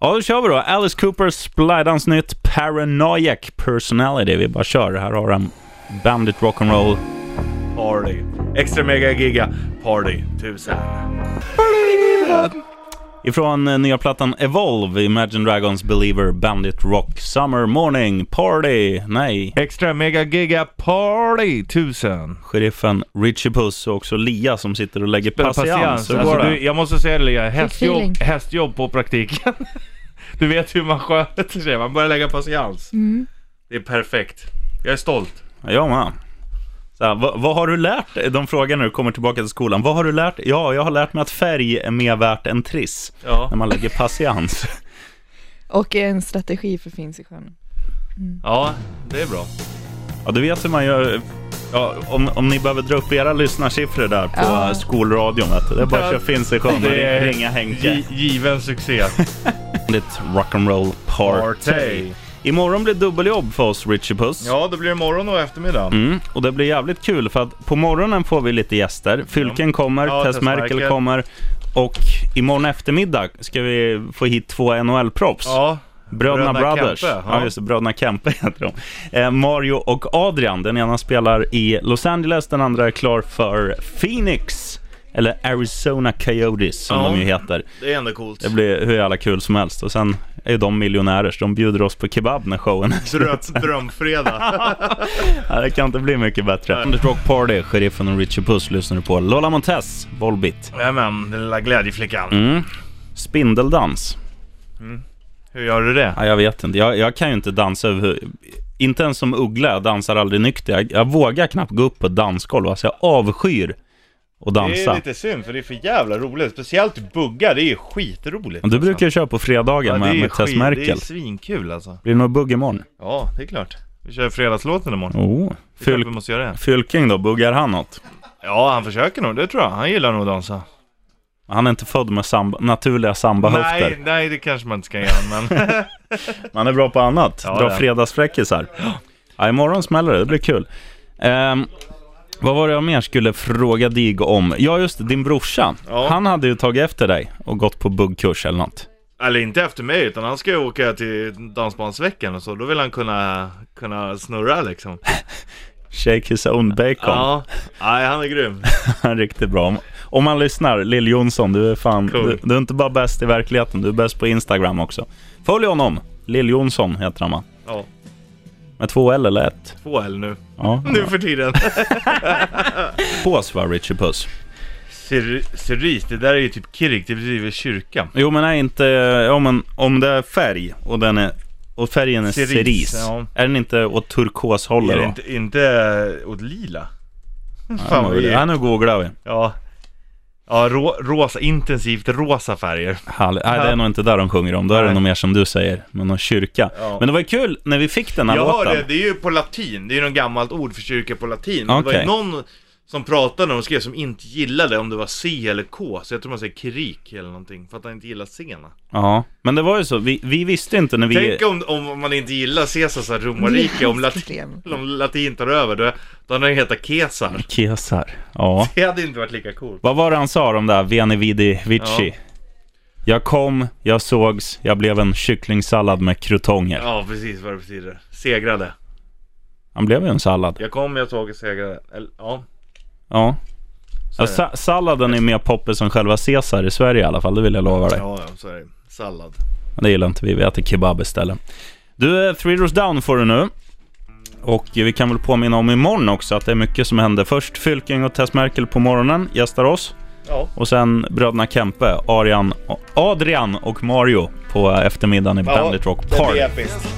[SPEAKER 2] Ja.
[SPEAKER 1] då kör vi då. Alice Coopers splidans nytt Paranoiac Personality. Vi bara kör. Här har han Bandit Rock'n'Roll.
[SPEAKER 2] Party. Extra mega giga party tusen.
[SPEAKER 1] Ifrån eh, nya plattan Evolve, Imagine Dragons Believer, Bandit Rock, Summer Morning, Party, nej,
[SPEAKER 2] Extra mega giga party tusen.
[SPEAKER 1] sheriffen Richie Puss och också Lia som sitter och lägger patiens.
[SPEAKER 2] Patiens.
[SPEAKER 1] Hur
[SPEAKER 2] Alltså,
[SPEAKER 1] går
[SPEAKER 2] du,
[SPEAKER 1] det?
[SPEAKER 2] jag måste säga det Lea,
[SPEAKER 3] feeling.
[SPEAKER 2] hästjobb, hästjobb på praktiken. *laughs* du vet hur man sköter sig, man börjar lägga patiens. Det är perfekt. Jag är stolt.
[SPEAKER 1] Ja, Jag med. Så här, vad, vad har du lärt dig? De frågar när du kommer tillbaka till skolan. Vad har du lärt dig? Ja, jag har lärt mig att färg är mer värt än triss.
[SPEAKER 2] Ja.
[SPEAKER 1] När man lägger patiens.
[SPEAKER 3] Och en strategi för Finns i sjön.
[SPEAKER 2] Ja, det är bra.
[SPEAKER 1] Ja, du vet hur man gör. Ja, om, om ni behöver dra upp era lyssnarsiffror där på
[SPEAKER 3] Ja.
[SPEAKER 1] ja. skolradion, vet du. det är bara att köra finns i sjön och
[SPEAKER 2] Det är-
[SPEAKER 1] ringa Henke.
[SPEAKER 2] Gi- given succé.
[SPEAKER 1] Ditt rock'n'roll party.
[SPEAKER 2] Party.
[SPEAKER 1] Imorgon blir dubbeljobb för oss, Richie Puss.
[SPEAKER 2] Ja, det blir morgon och eftermiddag.
[SPEAKER 1] Mm, och det blir jävligt kul för att på morgonen får vi lite gäster. Fylken kommer,
[SPEAKER 2] Ja,
[SPEAKER 1] Tess
[SPEAKER 2] Tess
[SPEAKER 1] Merkel
[SPEAKER 2] Merkel.
[SPEAKER 1] kommer och imorgon eftermiddag ska vi få hit två NHL-proffs.
[SPEAKER 2] Ja.
[SPEAKER 1] Bröderna
[SPEAKER 2] Bröderna
[SPEAKER 1] Brothers.
[SPEAKER 2] Kempe,
[SPEAKER 1] ja.
[SPEAKER 2] ja.
[SPEAKER 1] just det. Bröderna Kempe heter de. Eh, Mario och Adrian. Den ena spelar i Los Angeles, den andra är klar för Phoenix. Eller Arizona Coyotes som
[SPEAKER 2] Ja.
[SPEAKER 1] de ju heter.
[SPEAKER 2] Det är ändå coolt.
[SPEAKER 1] Det blir hur jävla kul som helst. Och sen är ju de miljonärer så de bjuder oss på kebab när showen är slut.
[SPEAKER 2] Dröm, drömfredag.
[SPEAKER 1] *laughs* Ja, Det kan inte bli mycket bättre. Under Rock Party, Sheriffen och Richie Puss lyssnar du på. Lola Montez, Volbit.
[SPEAKER 2] Jajamän, den lilla glädjeflickan.
[SPEAKER 1] Mm. Spindeldans.
[SPEAKER 2] Hur gör du det?
[SPEAKER 1] Ja, jag vet inte. Jag, jag kan ju inte dansa över... Inte ens som uggla, jag dansar aldrig nykter. Jag, jag vågar knappt gå upp på ett dansgolv. Alltså jag avskyr att
[SPEAKER 2] Det är
[SPEAKER 1] dansa.
[SPEAKER 2] lite synd för det är för jävla roligt. Speciellt bugga, det är ju skitroligt.
[SPEAKER 1] Men Du brukar ju köra på fredagar
[SPEAKER 2] ja, det är
[SPEAKER 1] med,
[SPEAKER 2] ju
[SPEAKER 1] med Tess
[SPEAKER 2] skit- Det är
[SPEAKER 1] Merkel.
[SPEAKER 2] svinkul alltså.
[SPEAKER 1] Blir det någon bugg imorgon?
[SPEAKER 2] Ja, det är klart. Vi kör fredagslåten imorgon.
[SPEAKER 1] Oh.
[SPEAKER 2] Det är klart
[SPEAKER 1] Fyl,
[SPEAKER 2] vi måste göra det.
[SPEAKER 1] Fylking då, buggar han något?
[SPEAKER 2] Ja, han försöker nog. Det tror jag. Han gillar nog att dansa.
[SPEAKER 1] Han är inte född med samba, naturliga
[SPEAKER 2] Nej,
[SPEAKER 1] sambahöfter.
[SPEAKER 2] nej, det kanske man inte ska göra, men...
[SPEAKER 1] *laughs* Man är bra på annat.
[SPEAKER 2] Ja,
[SPEAKER 1] Dra
[SPEAKER 2] det.
[SPEAKER 1] fredagsfräckisar. Ja, imorgon smäller det. Det blir kul. Ehm, vad var det jag mer skulle fråga dig om? Ja, just det, din brorsa.
[SPEAKER 2] Ja.
[SPEAKER 1] Han hade ju tagit efter dig och gått på buggkurs eller något.
[SPEAKER 2] Eller inte efter mig, utan han ska ju åka till Dansbandsveckan och så. Då vill han kunna, kunna snurra liksom.
[SPEAKER 1] Shake his own bacon.
[SPEAKER 2] Ja, nej, han är grym.
[SPEAKER 1] *laughs* Riktigt bra. Om- Om man lyssnar, Lill Jonsson, du är fan...
[SPEAKER 2] Cool.
[SPEAKER 1] Du, du är inte bara bäst i verkligheten, du är bäst på Instagram också. Följ honom! Lill Jonsson heter han va?
[SPEAKER 2] Ja,
[SPEAKER 1] Med två L eller ett?
[SPEAKER 2] två L nu.
[SPEAKER 1] Ja.
[SPEAKER 2] Nu för *laughs* tiden.
[SPEAKER 1] Pås va, Richie Puss?
[SPEAKER 2] Cyr- Cyris, det där är ju typ Kirik, det betyder kyrka.
[SPEAKER 1] Jo men är inte... Ja, men, om det är färg och den är... Och färgen är
[SPEAKER 2] Cerise,
[SPEAKER 1] cerise.
[SPEAKER 2] ja.
[SPEAKER 1] Är den inte åt turkoshållet
[SPEAKER 2] Är det
[SPEAKER 1] då?
[SPEAKER 2] inte, inte åt lila?
[SPEAKER 1] Ja,
[SPEAKER 2] Fan
[SPEAKER 1] men
[SPEAKER 2] vad vi
[SPEAKER 1] det- Ja, nu googlar vi.
[SPEAKER 2] Ja. Ja, rå, rosa, intensivt rosa färger.
[SPEAKER 1] Härligt. Nej, det är
[SPEAKER 2] Ja.
[SPEAKER 1] nog inte där de sjunger om. Då är det
[SPEAKER 2] Nej.
[SPEAKER 1] nog mer som du säger, med någon kyrka.
[SPEAKER 2] Ja.
[SPEAKER 1] Men det var ju kul när vi fick den här
[SPEAKER 2] Jag
[SPEAKER 1] låten.
[SPEAKER 2] hörde, det är ju på latin, det är ju något gammalt ord för kyrka på latin. Men Det
[SPEAKER 1] Okej.
[SPEAKER 2] var ju någon som pratade och skrev som inte gillade om det var C eller K, så jag tror man säger krik eller någonting, för att han inte gillar C-na.
[SPEAKER 1] Ja, men det var ju så. Vi, vi visste inte när vi...
[SPEAKER 2] Tänk om, om man inte gillar Caesars romarrike, om, latin,
[SPEAKER 3] Problem.
[SPEAKER 2] om latin tar över, då, då hade han hetat Kesar.
[SPEAKER 1] Kesar. Ja.
[SPEAKER 2] Det hade inte varit lika coolt.
[SPEAKER 1] Vad var det han sa de där, Veni Vidi Vici?
[SPEAKER 2] Ja.
[SPEAKER 1] Jag kom, jag sågs, jag blev en kycklingsallad med krutonger.
[SPEAKER 2] Ja, precis vad det betyder. Segrade.
[SPEAKER 1] Han blev ju en sallad.
[SPEAKER 2] Jag kom, jag såg och segrade. Eller, ja.
[SPEAKER 1] Ja.
[SPEAKER 2] Så
[SPEAKER 1] ja
[SPEAKER 2] är det.
[SPEAKER 1] sa- salladen är mer poppis som själva Caesar i Sverige i alla fall, det vill jag lova dig.
[SPEAKER 2] Ja, ja, så är det. Sallad.
[SPEAKER 1] Men det gillar inte vi, vi äter kebab istället. Du, eh, Three Doors Down får du nu. Och eh, vi kan väl påminna om imorgon också att det är mycket som händer. Först Fylking och Tess Merkel på morgonen gästar oss.
[SPEAKER 2] Ja.
[SPEAKER 1] Och sen bröderna Kempe, Arian, Adrian och Mario på eftermiddagen i eh, Bandit Rock Park.
[SPEAKER 2] episkt.